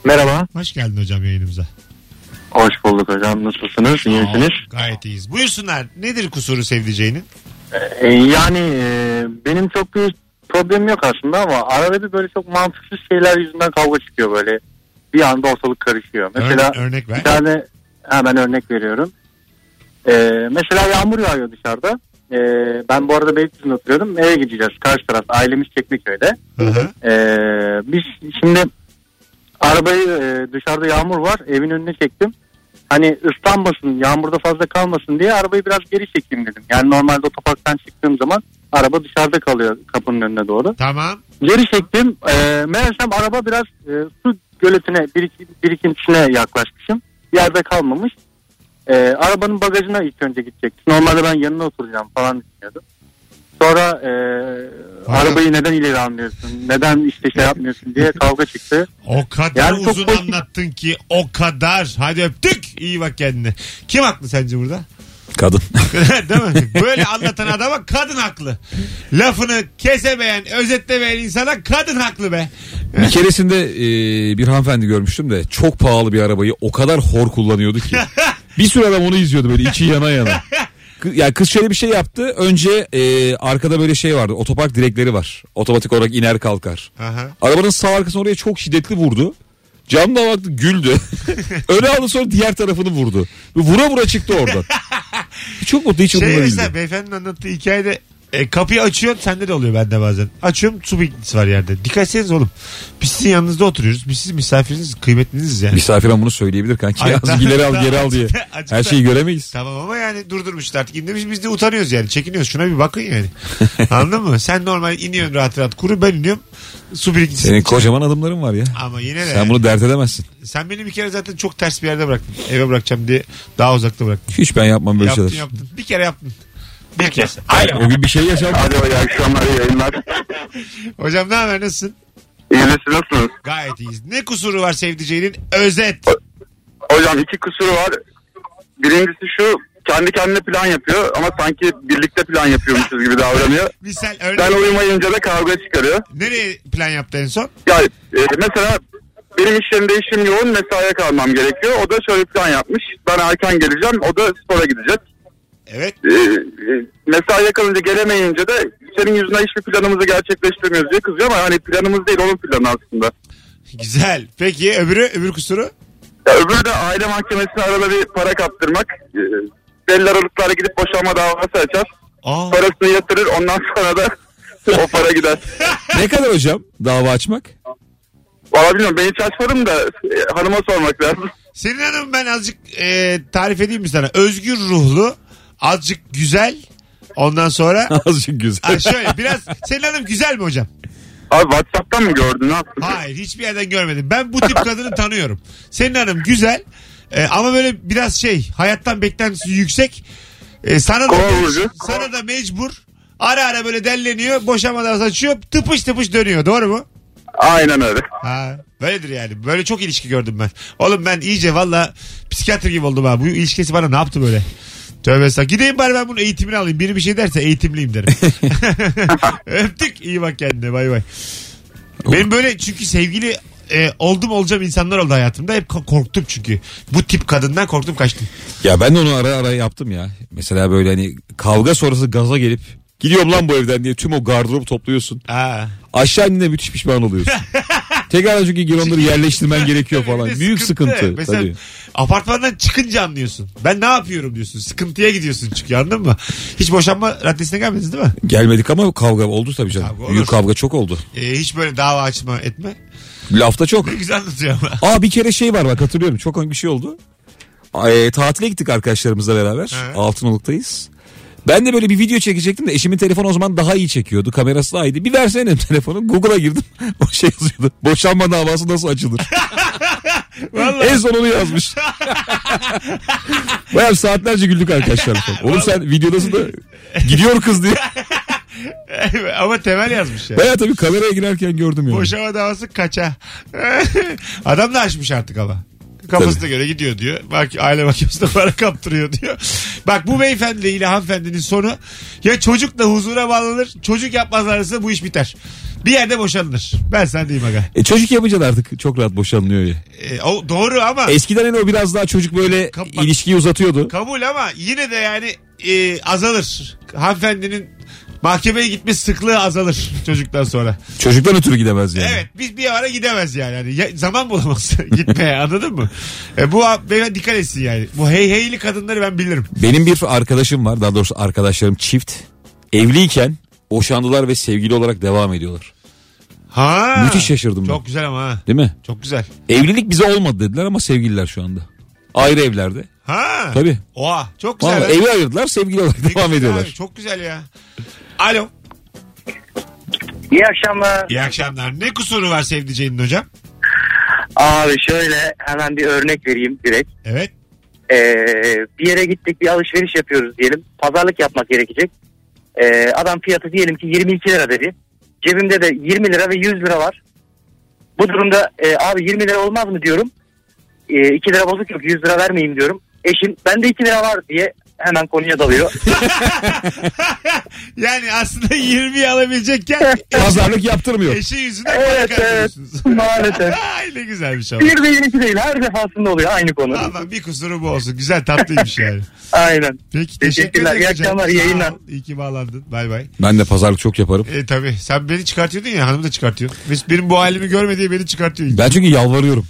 Merhaba.
Hoş geldin hocam yayınımıza.
Hoş bulduk hocam. Nasılsınız? İyi misiniz?
Gayet iyiyiz. Buyursunlar. Nedir kusuru sevdiceğinin?
Ee, yani e, benim çok bir problemim yok aslında ama arada bir böyle çok mantıksız şeyler yüzünden kavga çıkıyor böyle. Bir anda ortalık karışıyor. Mesela
Örne- örnek ver.
bir tane hemen örnek veriyorum. Ee, mesela yağmur yağıyor dışarıda. Ee, ben bu arada Beylikdüzü'nde E, oturuyorum. Eve gideceğiz. Karşı taraf ailemiz Çekmeköy'de.
Hı hı.
Ee, biz şimdi arabayı e, dışarıda yağmur var evin önüne çektim. Hani ıslanmasın yağmurda fazla kalmasın diye arabayı biraz geri çekeyim dedim. Yani normalde otoparktan çıktığım zaman araba dışarıda kalıyor kapının önüne doğru.
Tamam.
Geri çektim. Ee, meğersem araba biraz e, su göletine birik- birikintisine yaklaşmışım. Yerde kalmamış. Ee, arabanın bagajına ilk önce gidecektim. Normalde ben yanına oturacağım falan düşünüyordum. Sonra e,
Aynen.
arabayı neden ileri almıyorsun? Neden işte şey yapmıyorsun diye kavga çıktı.
O kadar
Yani çok
uzun
hoş-
anlattın ki o kadar. Hadi öptük. İyi bak kendine. Kim haklı sence burada?
Kadın.
Değil mi? Böyle anlatan adama kadın haklı. Lafını kesemeyen, özetlemeyen insana kadın haklı be.
bir keresinde e, bir hanımefendi görmüştüm de çok pahalı bir arabayı o kadar hor kullanıyordu ki. Bir süre adam onu izliyordu böyle içi yana yana. Kı- Ya kız şöyle bir şey yaptı. Önce e, arkada böyle şey vardı. Otopark direkleri var. Otomatik olarak iner kalkar.
Aha.
Arabanın sağ arkasına oraya çok şiddetli vurdu. Cam da baktı güldü. Öne aldı sonra diğer tarafını vurdu. Ve Vura vura çıktı oradan. çok mutlu hiç
Şey
umurumda değildi.
mesela beyefendinin anlattığı hikayede e, kapıyı açıyorsun sende de oluyor bende bazen. Açıyorum su birikintisi var yerde. Dikkat etseniz oğlum. Biz sizin yanınızda oturuyoruz. Biz sizin misafiriniz, kıymetiniz yani.
Misafir ama bunu söyleyebilir kanki.
Ay,
Yalnız
tamam,
ileri al
tamam.
geri al diye.
Acık
Her
da-
şeyi göremeyiz.
Tamam ama yani durdurmuşlar artık indirmiş biz de utanıyoruz yani çekiniyoruz şuna bir bakın yani anladın mı sen normal iniyorsun rahat rahat kuru ben iniyorum su birikintisi
Senin kocaman adımların var ya.
ama yine de
Sen bunu dert edemezsin.
Sen beni bir kere zaten çok ters bir yerde bıraktın. Eve bırakacağım diye daha uzakta bıraktın.
Hiç ben yapmam böyle
yaptın
şeyler.
yaptın. Bir kere yaptın. Bir kere.
O gün bir şey yaşandı.
Alo iyi akşamlar iyi yayınlar.
Hocam ne haber nasılsın?
İyi misiniz, nasılsınız?
Gayet iyiyiz. Ne kusuru var sevdiceğinin? Özet.
Hocam iki kusuru var. Birincisi şu kendi kendine plan yapıyor ama sanki birlikte plan yapıyormuşuz gibi davranıyor.
Misal örnek.
Ben uyumayınca da kavga çıkarıyor.
Nereye plan yaptı en son?
Yani e, mesela benim iş yerinde işim yoğun mesaiye kalmam gerekiyor. O da şöyle bir plan yapmış. Ben erken geleceğim o da spora gidecek.
Evet.
E, e, mesaiye kalınca gelemeyince de senin yüzünden hiçbir planımızı gerçekleştirmiyoruz diye kızıyor ama hani planımız değil onun planı aslında.
Güzel. Peki öbürü? Öbür kusuru?
Ya öbürü de aile mahkemesine arada bir para kaptırmak. E, belli aralıklarla gidip boşanma davası açar.
Aa.
Parasını yatırır ondan sonra da o para gider.
Ne kadar hocam dava açmak?
Valla bilmiyorum ben hiç açmadım da e, hanıma sormak lazım.
Senin hanım ben azıcık e, tarif edeyim mi sana? Özgür ruhlu. Azıcık güzel. Ondan sonra...
Azıcık güzel.
Ay şöyle biraz... Senin hanım güzel mi hocam?
Abi Whatsapp'tan mı gördün ne yaptın?
Hayır hiçbir yerden görmedim. Ben bu tip kadını tanıyorum. Senin hanım güzel e, ama böyle biraz şey hayattan beklentisi yüksek. E, sana, da,
Kova burcu.
sana da mecbur. Ara ara böyle delleniyor, boşamadan saçıyor, tıpış tıpış dönüyor. Doğru mu?
Aynen öyle.
Ha, böyledir yani. Böyle çok ilişki gördüm ben. Oğlum ben iyice valla psikiyatr gibi oldum ha. Bu ilişkisi bana ne yaptı böyle? Tövbe estağfurullah. Gideyim bari ben bunun eğitimini alayım. Biri bir şey derse eğitimliyim derim. Öptük. İyi bak kendine. Bay bay. Benim böyle çünkü sevgili e, oldum olacağım insanlar oldu hayatımda. Hep ko- korktum çünkü. Bu tip kadından korktum kaçtım.
Ya ben de onu ara ara yaptım ya. Mesela böyle hani kavga sonrası gaza gelip gidiyorum lan bu evden diye tüm o gardırobu topluyorsun.
Aa.
Aşağı indiğinde müthiş pişman oluyorsun. Tekrar çünkü gir onları yerleştirmen gerekiyor falan.
Bir de
Büyük sıkıntı.
Mesela
tabii.
apartmandan çıkınca anlıyorsun. Ben ne yapıyorum diyorsun. Sıkıntıya gidiyorsun çünkü anladın mı? Hiç boşanma raddesine gelmediniz değil mi?
Gelmedik ama kavga oldu tabii canım.
Kavga olur.
Büyük kavga çok oldu.
E, hiç böyle dava açma etme.
Lafta çok.
Ne güzel anlatıyor ama.
Aa bir kere şey var bak hatırlıyorum. Çok hangi bir şey oldu. e, tatile gittik arkadaşlarımızla beraber.
He.
Altınoluk'tayız. Ben de böyle bir video çekecektim de eşimin telefonu o zaman daha iyi çekiyordu. Kamerası daha iyiydi. Bir versene telefonu. Google'a girdim. O şey yazıyordu. Boşanma davası nasıl açılır?
Vallahi.
en son onu yazmış. Bayağı saatlerce güldük arkadaşlar. Oğlum sen videodasın da gidiyor kız diye.
Ama temel yazmış ya.
Bayağı tabii kameraya girerken gördüm yani.
Boşama davası kaça. Adam da açmış artık ama. Kafasına göre gidiyor diyor. Bak aile mahkemesine para kaptırıyor diyor. Bak bu beyefendi ile hanımefendinin sonu ya çocukla huzura bağlanır çocuk yapmazlarsa bu iş biter. Bir yerde boşanılır. Ben sen diyeyim aga.
E çocuk yapınca da artık çok rahat boşanılıyor ya.
Ee, o doğru ama
Eskiden hani o biraz daha çocuk böyle
Kapat.
ilişkiyi uzatıyordu.
kabul ama yine de yani e, azalır. Hanımefendinin mahkemeye gitme sıklığı azalır çocuktan sonra.
Çocuktan ötürü gidemez yani.
Evet biz bir ara gidemez yani. yani ya- zaman bulamaz gitmeye anladın mı? E, bu a- beyler dikkat etsin yani. Bu hey heyli kadınları ben bilirim.
Benim bir arkadaşım var daha doğrusu arkadaşlarım çift. Evliyken boşandılar ve sevgili olarak devam ediyorlar.
Ha.
Müthiş şey. şaşırdım
Çok güzel ama ha.
ben. Değil mi?
Çok güzel.
Evlilik bize olmadı dediler ama sevgililer şu anda. Ayrı evlerde.
Ha.
Tabii.
Oha çok güzel.
Vallahi
lan.
evi ayırdılar sevgili olarak
Ne
devam
güzel
ediyorlar.
abi, çok güzel ya. Alo.
İyi akşamlar.
İyi akşamlar. Ne kusuru var sevdiceğinin hocam?
Abi şöyle hemen bir örnek vereyim direkt.
Evet.
Ee, bir yere gittik bir alışveriş yapıyoruz diyelim. Pazarlık yapmak gerekecek. Ee, adam fiyatı diyelim ki 22 lira dedi. Cebimde de 20 lira ve 100 lira var. Bu durumda e, abi 20 lira olmaz mı diyorum. E, 2 lira bozuk yok 100 lira vermeyeyim diyorum. Eşim bende 2 lira var diye hemen konuya dalıyor.
yani aslında 20'yi alabilecekken
Pazarlık yaptırmıyor.
eşi yüzünden para kaybediyorsunuz.
maalesef.
Ay, ne güzelmiş ama.
Bir de 22 değil her defasında oluyor aynı konu.
Tamam bir kusuru bu olsun. Güzel tatlıymış yani.
Aynen.
Peki
Teşekkürler.
teşekkür
İyi
ederim hocam.
akşamlar, iyi
Sağ ol.
yayınlar.
İyi ki bağlandın. Bay bay.
Ben de pazarlık çok yaparım.
E tabii sen beni çıkartıyordun ya hanım da çıkartıyor. Biz, benim bu halimi görme diye beni çıkartıyor.
Ben çünkü yalvarıyorum.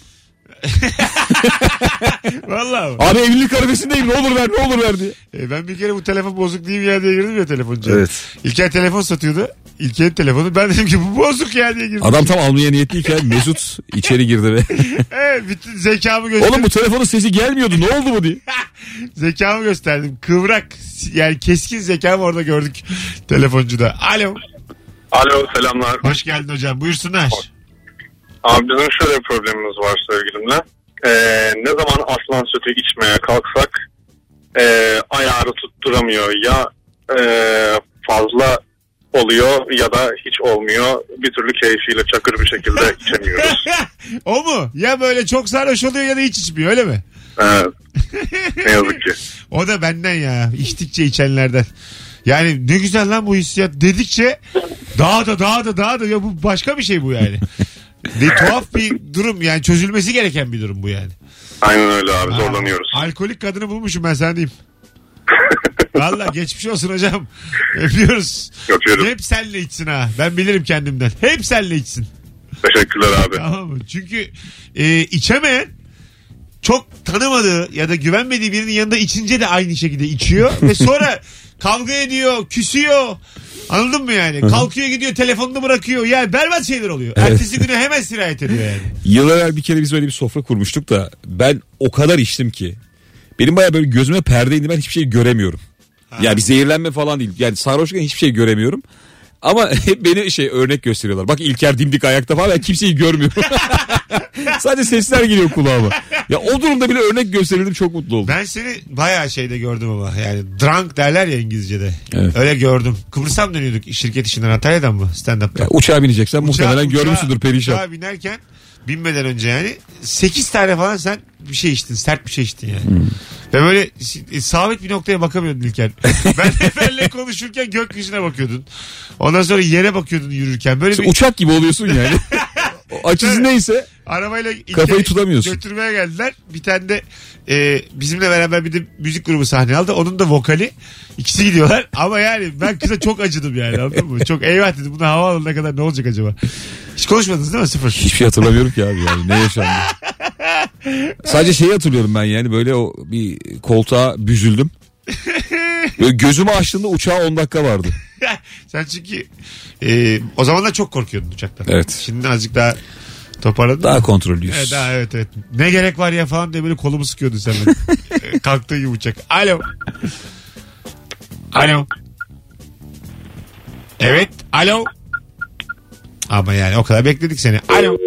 Vallahi.
Abi evlilik arabesindeyim ne olur ver ne olur ver diye.
E, ben bir kere bu telefon bozuk diye bir yerde girdim ya telefoncuya.
Evet.
İlker telefon satıyordu. İlker'in telefonu. Ben dedim ki bu bozuk ya diye girdim.
Adam tam almaya niyetliyken Mesut içeri girdi ve
E, bütün zekamı gösterdim.
oğlum bu telefonun sesi gelmiyordu ne oldu bu diye.
zekamı gösterdim. Kıvrak yani keskin zekamı orada gördük telefoncuda. Alo.
Alo selamlar.
Hoş geldin hocam. Buyursunlar.
Abi bizim şöyle bir problemimiz var sevgilimle. Ee, ne zaman aslan sütü içmeye kalksak e, ayarı tutturamıyor. Ya e, fazla oluyor ya da hiç olmuyor. Bir türlü keyfiyle çakır bir şekilde içemiyoruz.
o mu? Ya böyle çok sarhoş oluyor ya da hiç içmiyor öyle mi?
Evet. Ne yazık ki.
O da benden ya. İçtikçe içenlerden. Yani ne güzel lan bu hissiyat dedikçe daha da daha da daha da ya bu başka bir şey bu yani. Ne tuhaf bir durum yani çözülmesi gereken bir durum bu yani.
Aynen öyle abi zorlanıyoruz.
Aa, alkolik kadını bulmuşum ben sana diyeyim. Valla geçmiş olsun hocam. Öpüyoruz.
Öpüyorum.
Hep senle içsin ha. Ben bilirim kendimden. Hep senle içsin.
Teşekkürler abi.
Tamam mı? Çünkü e, içemeyen çok tanımadığı ya da güvenmediği birinin yanında içince de aynı şekilde içiyor ve sonra kavga ediyor, küsüyor. Anladın mı yani? Kalkıyor gidiyor telefonunu bırakıyor. Yani berbat şeyler oluyor. Ertesi günü hemen sirayet ediyor yani.
Yıl evvel bir kere biz böyle bir sofra kurmuştuk da ben o kadar içtim ki. Benim baya böyle gözüme perde indi ben hiçbir şey göremiyorum. Ya bir zehirlenme falan değil. Yani sarhoşken hiçbir şey göremiyorum. Ama hep beni şey örnek gösteriyorlar. Bak İlker dimdik ayakta falan ben kimseyi görmüyorum. Sadece sesler geliyor kulağıma. Ya o durumda bile örnek gösterildim çok mutlu oldum.
Ben seni bayağı şeyde gördüm ama yani drunk derler ya İngilizce'de.
Evet.
Öyle gördüm. Kıbrıs'a mı dönüyorduk şirket işinden Antalya'dan mı? Stand-up'ta.
Ya uçağa bineceksen muhtemelen
Uçağa-
görmüşsündür perişan.
Uçağa binerken binmeden önce yani 8 tane falan sen bir şey içtin sert bir şey içtin yani.
Hmm.
Ve böyle e, sabit bir noktaya bakamıyordun İlker. Ben Efe'yle konuşurken gökyüzüne bakıyordun. Ondan sonra yere bakıyordun yürürken. Böyle bir
Uçak gibi oluyorsun yani. O Açısı neyse
arabayla İlker'i
Kafayı tutamıyorsun.
götürmeye geldiler. Bir tane de e, bizimle beraber bir de müzik grubu sahne aldı. Onun da vokali. İkisi gidiyorlar. Ama yani ben kıza çok acıdım yani anladın mı? Çok eyvah dedim. Bunu havaalanına kadar ne olacak acaba? Hiç konuşmadınız değil mi? Sıfır.
Hiçbir şey hatırlamıyorum ki abi yani ne yaşandı. Sadece şeyi hatırlıyorum ben yani böyle o bir koltuğa büzüldüm. Böyle gözümü açtığımda uçağa 10 dakika vardı.
Sen çünkü e, o zamanlar çok korkuyordun uçaktan.
Evet.
Şimdi azıcık daha Toparladın
Daha
mı?
kontrollüyüz.
Evet, daha, evet evet. Ne gerek var ya falan diye böyle kolumu sıkıyordun sen benim. Ee, Kalktığı gibi bıçak. Alo. Alo. Evet. Alo. Ama yani o kadar bekledik seni. Alo.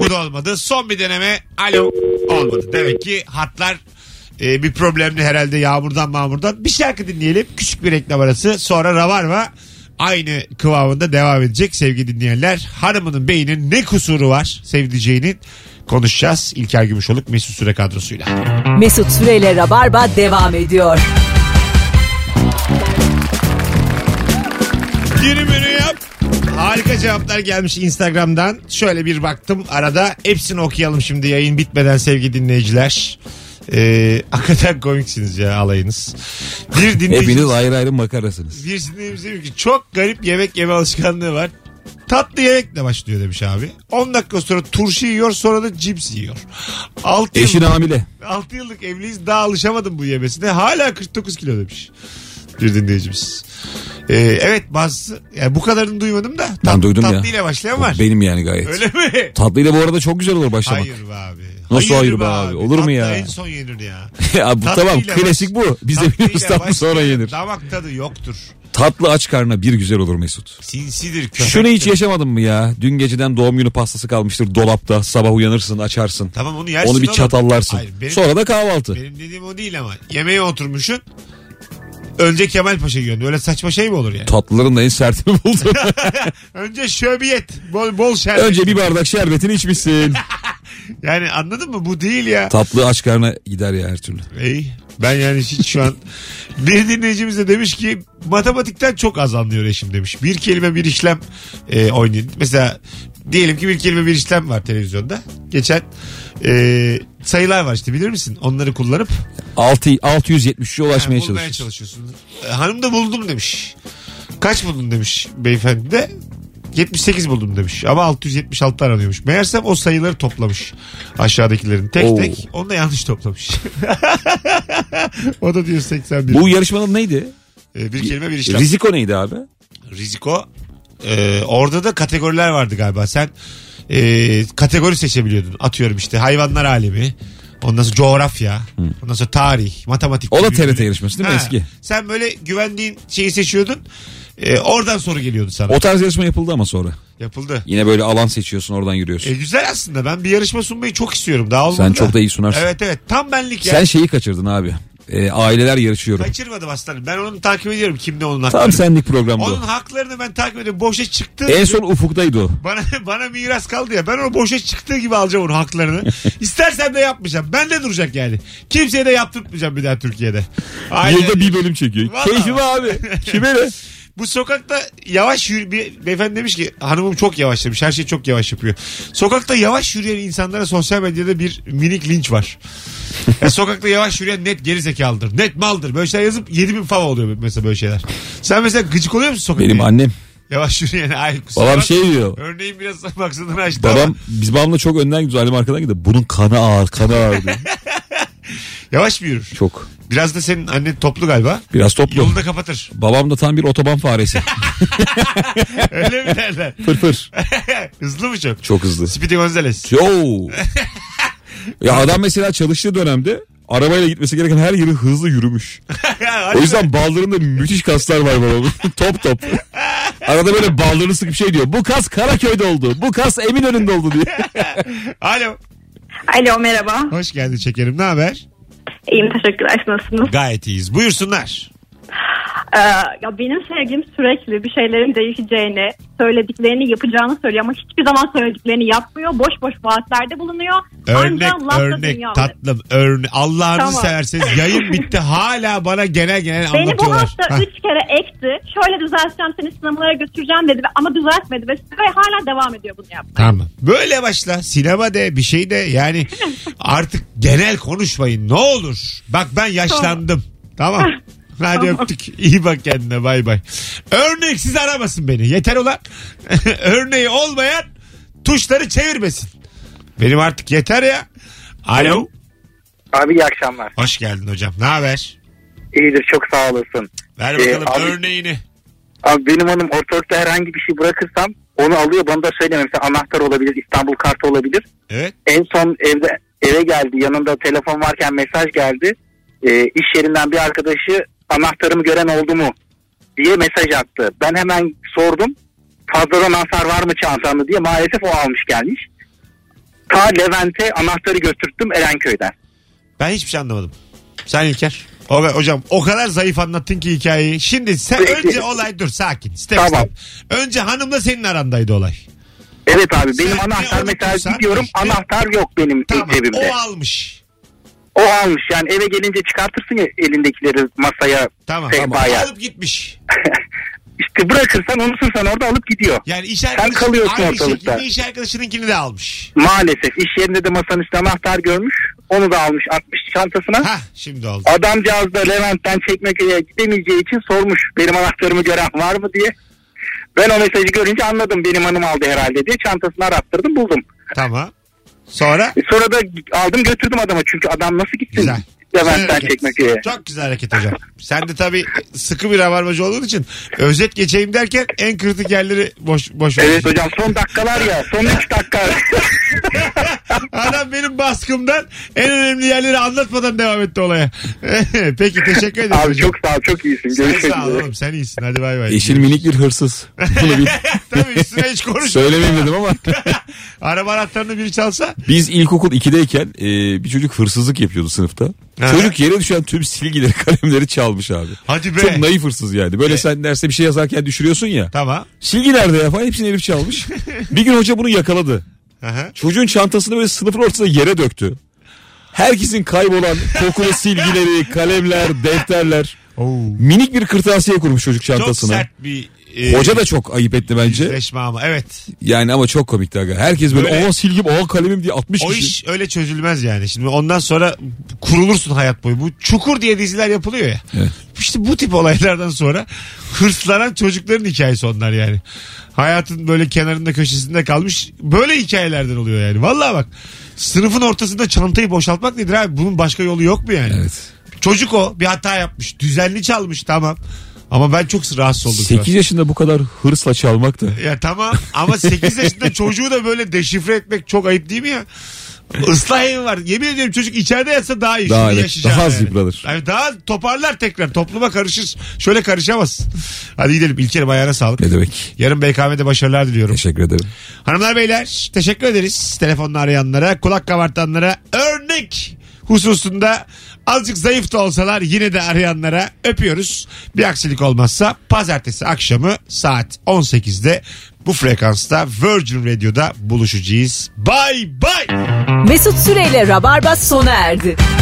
Bu da olmadı. Son bir deneme. Alo. Olmadı. Demek ki hatlar e, bir problemli herhalde yağmurdan mağmurdan. Bir şarkı dinleyelim. Küçük bir reklam arası. Sonra Ravarva aynı kıvamında devam edecek sevgili dinleyenler. Hanımının beynin ne kusuru var sevdiceğinin konuşacağız. İlker Gümüşoluk Mesut Süre kadrosuyla.
Mesut Süreyle Rabarba devam ediyor.
Yürümünü yap. Harika cevaplar gelmiş Instagram'dan. Şöyle bir baktım arada. Hepsini okuyalım şimdi yayın bitmeden sevgili dinleyiciler. Ee, hakikaten komiksiniz ya alayınız. Bir
Hepiniz
dinleyicimiz,
ayrı ayrı makarasınız.
bir dinleyicimiz demiş ki çok garip yemek yeme alışkanlığı var. Tatlı yemekle başlıyor demiş abi. 10 dakika sonra turşu yiyor sonra da cips yiyor. 6
Eşin
yıllık,
hamile.
6 yıllık evliyiz daha alışamadım bu yemesine. Hala 49 kilo demiş bir dinleyicimiz. Ee, evet bazı yani bu kadarını duymadım da.
Ben
Tat-
duydum ya.
tatlıyla başlayan var.
Benim yani gayet.
Öyle mi?
Tatlıyla bu arada çok güzel olur başlamak.
Hayır be abi.
Nasıl hayır be abi? Olur mu
Tatlı
ya?
en son yenir ya.
Ya bu
Tatlıyla
tamam
baş-
klasik bu. Biz de
Tatlıyla
biliyoruz tatlı
başlayan
sonra yenir.
Damak tadı yoktur.
Tatlı aç karnına bir güzel olur Mesut.
Sinsidir köpektir.
Şunu hiç yaşamadın mı ya? Dün geceden doğum günü pastası kalmıştır dolapta. Sabah uyanırsın açarsın.
Tamam onu yersin.
Onu bir
oğlum.
çatallarsın.
Hayır, benim,
Sonra da kahvaltı.
benim dediğim o değil ama. Yemeğe oturmuşsun. Önce Kemal Paşa yiyorsun. Öyle saçma şey mi olur yani?
Tatlıların da en sertini buldum.
Önce şöbiyet. Bol bol şerbet.
Önce bir bardak şerbetini içmişsin.
Yani anladın mı? Bu değil ya.
Tatlı aç karnına gider ya her türlü.
İyi. Ben yani hiç şu an bir dinleyicimiz de demiş ki matematikten çok az anlıyor eşim demiş. Bir kelime bir işlem e, oynayın. Mesela diyelim ki bir kelime bir işlem var televizyonda. Geçen e, sayılar var işte bilir misin? Onları kullanıp
6 673'e
ha,
ulaşmaya
bulmaya
çalışır.
çalışıyorsun. E, hanım da buldum demiş. Kaç buldun demiş beyefendi de. 78 buldum demiş ama 676 aranıyormuş. Meğersem o sayıları toplamış aşağıdakilerin tek
Oo.
tek. Onu da yanlış toplamış. o da diyor 81.
Bu yarışmanın neydi?
Ee, bir kelime bir işlem.
Riziko neydi abi?
Riziko. Ee, orada da kategoriler vardı galiba. Sen e, kategori seçebiliyordun. Atıyorum işte hayvanlar alemi. Ondan sonra coğrafya. Ondan sonra tarih, matematik.
O da
gibi bir-
TRT yarışması değil mi
Ha,
eski?
Sen böyle güvendiğin şeyi seçiyordun. Ee, oradan soru geliyordu sana.
O tarz yarışma yapıldı ama sonra.
Yapıldı.
Yine böyle alan seçiyorsun oradan yürüyorsun.
E, güzel aslında. Ben bir yarışma sunmayı çok istiyorum. Daha olmadı
Sen
da.
çok da iyi sunarsın.
Evet evet. Tam benlik ya.
Sen şeyi kaçırdın abi. Ee, aileler yarışıyorum.
Kaçırmadım aslanım. Ben onu takip ediyorum. Kimde onun hakları.
Tam senlik programda.
Onun
o.
haklarını ben takip ediyorum. Boşa çıktı.
En son ufuktaydı o.
Bana bana miras kaldı ya. Ben onu boşa çıktığı gibi alacağım onun haklarını. İstersem de yapmayacağım. Ben de duracak yani. Kimseye de yaptırtmayacağım bir daha Türkiye'de. Aynen.
Yılda bir bölüm çekiyor.
Vallahi.
Keyfi be abi. Kime ne?
Bu sokakta yavaş yürü... Bir beyefendi demiş ki hanımım çok yavaş demiş. Her şey çok yavaş yapıyor. Sokakta yavaş yürüyen insanlara sosyal medyada bir minik linç var. Ya sokakta yavaş yürüyen net gerizekalıdır. Net maldır. Böyle şeyler yazıp 7000 falan oluyor mesela böyle şeyler. Sen mesela gıcık oluyor musun sokakta?
Benim annem.
Yavaş yürüyen. Ay, kusura
Babam
bakma.
şey diyor.
Örneğin biraz maksadını açtı ama-
Babam biz babamla çok önden gidiyoruz. Annem arkadan gidiyor. Bunun kanı ağır, kanı ağır diyor.
Yavaş mı yürür?
Çok.
Biraz da senin annen toplu galiba.
Biraz toplu.
Yolu da kapatır.
Babam da tam bir otoban faresi.
Öyle mi derler?
Fır fır.
Hızlı mı çok?
Çok hızlı.
Speedy Gonzales.
Yo. ya adam mesela çalıştığı dönemde arabayla gitmesi gereken her yeri hızlı yürümüş. O yüzden baldırında müthiş kaslar var babamın. top top. Arada böyle baldırını sıkıp şey diyor. Bu kas Karaköy'de oldu. Bu kas Eminönü'nde oldu diye.
Alo.
Alo merhaba.
Hoş geldin şekerim. Ne haber?
İyiyim teşekkürler. Siz Nasılsınız?
Gayet iyiyiz. Buyursunlar.
Ee, ya benim sevgim sürekli bir şeylerin değişeceğini, söylediklerini yapacağını söylüyor ama hiçbir zaman söylediklerini yapmıyor. Boş boş vaatlerde bulunuyor.
Örnek
Ancak lafta
örnek
dünya alır.
tatlım. Örne Allah'ını
Tamam.
severseniz yayın bitti. Hala bana genel genel
Beni bu
anlatıyorlar.
hafta
Hah.
üç kere ekti. Şöyle düzelteceğim seni sinemalara götüreceğim dedi ve- ama düzeltmedi ve ve hala devam ediyor bunu yapmaya.
Tamam. Böyle başla. Sinema de bir şey de yani artık genel konuşmayın ne olur. Bak ben yaşlandım. Tamam. Hadi öptük. İyi bak kendine bay bay. Örneksiz aramasın beni. Yeter ulan. Örneği olmayan tuşları çevirmesin. Benim artık yeter ya. Alo.
Abi iyi akşamlar.
Hoş geldin hocam. Ne haber?
İyidir çok sağ olasın.
Ver
Ee,
bakalım
abi-
örneğini.
Abi benim hanım ortalıkta herhangi bir şey bırakırsam o Onu alıyor bana da söylemiyor. Mesela anahtar olabilir, İstanbul kartı olabilir.
Evet.
En son evde eve geldi. Yanında telefon varken mesaj geldi. Ee, iş yerinden bir arkadaşı anahtarımı gören oldu mu diye mesaj attı. Ben hemen sordum. Fazladan anahtar var mı çantamda diye. Maalesef o almış gelmiş. Ta Levent'e anahtarı götürttüm Erenköy'den.
Ben hiçbir şey anlamadım. Sen İlker. O, hocam o kadar zayıf anlattın ki hikayeyi. Şimdi sen
Peki.
önce olay dur sakin. Step
Tamam.
step. Önce hanımla senin arandaydı olay.
Evet abi benim
Sen
anahtar
ne
mesela
unutursan
gidiyorum
işte-
anahtar yok benim
Tamam.
cebimde.
O almış.
O almış yani eve gelince çıkartırsın ya elindekileri masaya
Tamam.
sehpaya.
Alıp gitmiş.
işte bırakırsan onusun sen orada alıp gidiyor.
Yani iş arkadaşının
kalıyorsun
aynı
ortalıkta.
şekilde iş arkadaşınınkini de almış.
Maalesef iş yerinde de masanın üstüne anahtar görmüş. Onu da almış atmış çantasına.
Hah şimdi oldu.
Adamcağız da Levent'ten Çekmeköy'e gidemeyeceği için sormuş benim anahtarımı gören var mı diye. Ben o mesajı görünce anladım benim hanım aldı herhalde diye çantasını arattırdım buldum.
Tamam. Sonra
E sonra da aldım götürdüm adama çünkü adam nasıl gitsin
Güzel. Güzel
Levent'ten
hareket.
Çekmeköy'e.
Çok güzel hareket hocam. Sen de tabii sıkı bir havarbacı olduğun için özet geçeyim derken en kritik yerleri boş boş
Evet
veriyorsun.
hocam son dakikalar ya son 3 dakika.
Adam benim baskımdan en önemli yerleri anlatmadan devam etti olaya. Peki teşekkür ederim.
Abi
hocam.
çok sağ ol çok iyisin
sen
görüşmek
sağ ol
üzere.
oğlum sen iyisin hadi bay bay.
Eşin minik bir hırsız. Bunu bil.
Tabii üstüne hiç konuş.
Söylemeyeyim dedim ama.
Araba anahtarını biri çalsa.
Biz ilkokul 2'deyken e, bir çocuk hırsızlık yapıyordu sınıfta.
Ha.
Çocuk yere düşen tüm silgileri kalemleri çalmış abi.
Hadi be.
Çok naif hırsız yani. Böyle
E.
sen derste bir şey yazarken düşürüyorsun ya.
Tamam.
Silgi nerede ya falan hepsini Elif çalmış. bir gün hoca bunu yakaladı.
Aha.
Çocuğun çantasını böyle sınıfın ortasına yere döktü. Herkesin kaybolan kokulu silgileri, kalemler, defterler.
Oo.
Minik bir kırtasiye kurmuş çocuk
Çok
çantasına.
sert bir e,
Hoca da çok ayıp etti bence.
yüzleşme ama evet.
Yani ama çok komikti aga. Herkes böyle,
Böyle-
o silgim, o kalemim diye 60
O
kişi.
iş öyle çözülmez yani. Şimdi ondan sonra kurulursun hayat boyu. Bu çukur diye diziler yapılıyor ya.
Evet.
İşte bu tip olaylardan sonra hırslanan çocukların hikayesi onlar yani. Hayatın böyle kenarında köşesinde kalmış böyle hikayelerden oluyor yani. Vallahi bak sınıfın ortasında çantayı boşaltmak nedir abi? Bunun başka yolu yok mu yani?
Evet.
Çocuk o bir hata yapmış. Düzenli çalmış tamam. Ama ben çok rahatsız oldum. şu an.
8 yaşında bu kadar hırsla çalmak da.
Ya tamam ama 8 yaşında çocuğu da böyle deşifre etmek çok ayıp değil mi ya? Islah evi var. Yemin ediyorum çocuk içeride yatsa daha iyi.
Daha
Şimdi
evet,
yaşayacağı
daha zıbralır.
Yani daha toparlar tekrar. Topluma karışır. Şöyle karışamaz. Hadi gidelim. İlker'im ayağına sağlık.
Ne demek?
Yarın BKM'de başarılar diliyorum.
Teşekkür ederim.
Hanımlar beyler teşekkür ederiz. Telefonla arayanlara, kulak kabartanlara, örnek hususunda azıcık zayıf da olsalar yine de arayanlara öpüyoruz. Bir aksilik olmazsa pazartesi akşamı saat 18'de bu frekansta Virgin Radio'da buluşacağız. Bay bay.
Mesut Süreyle Rabarba sona erdi.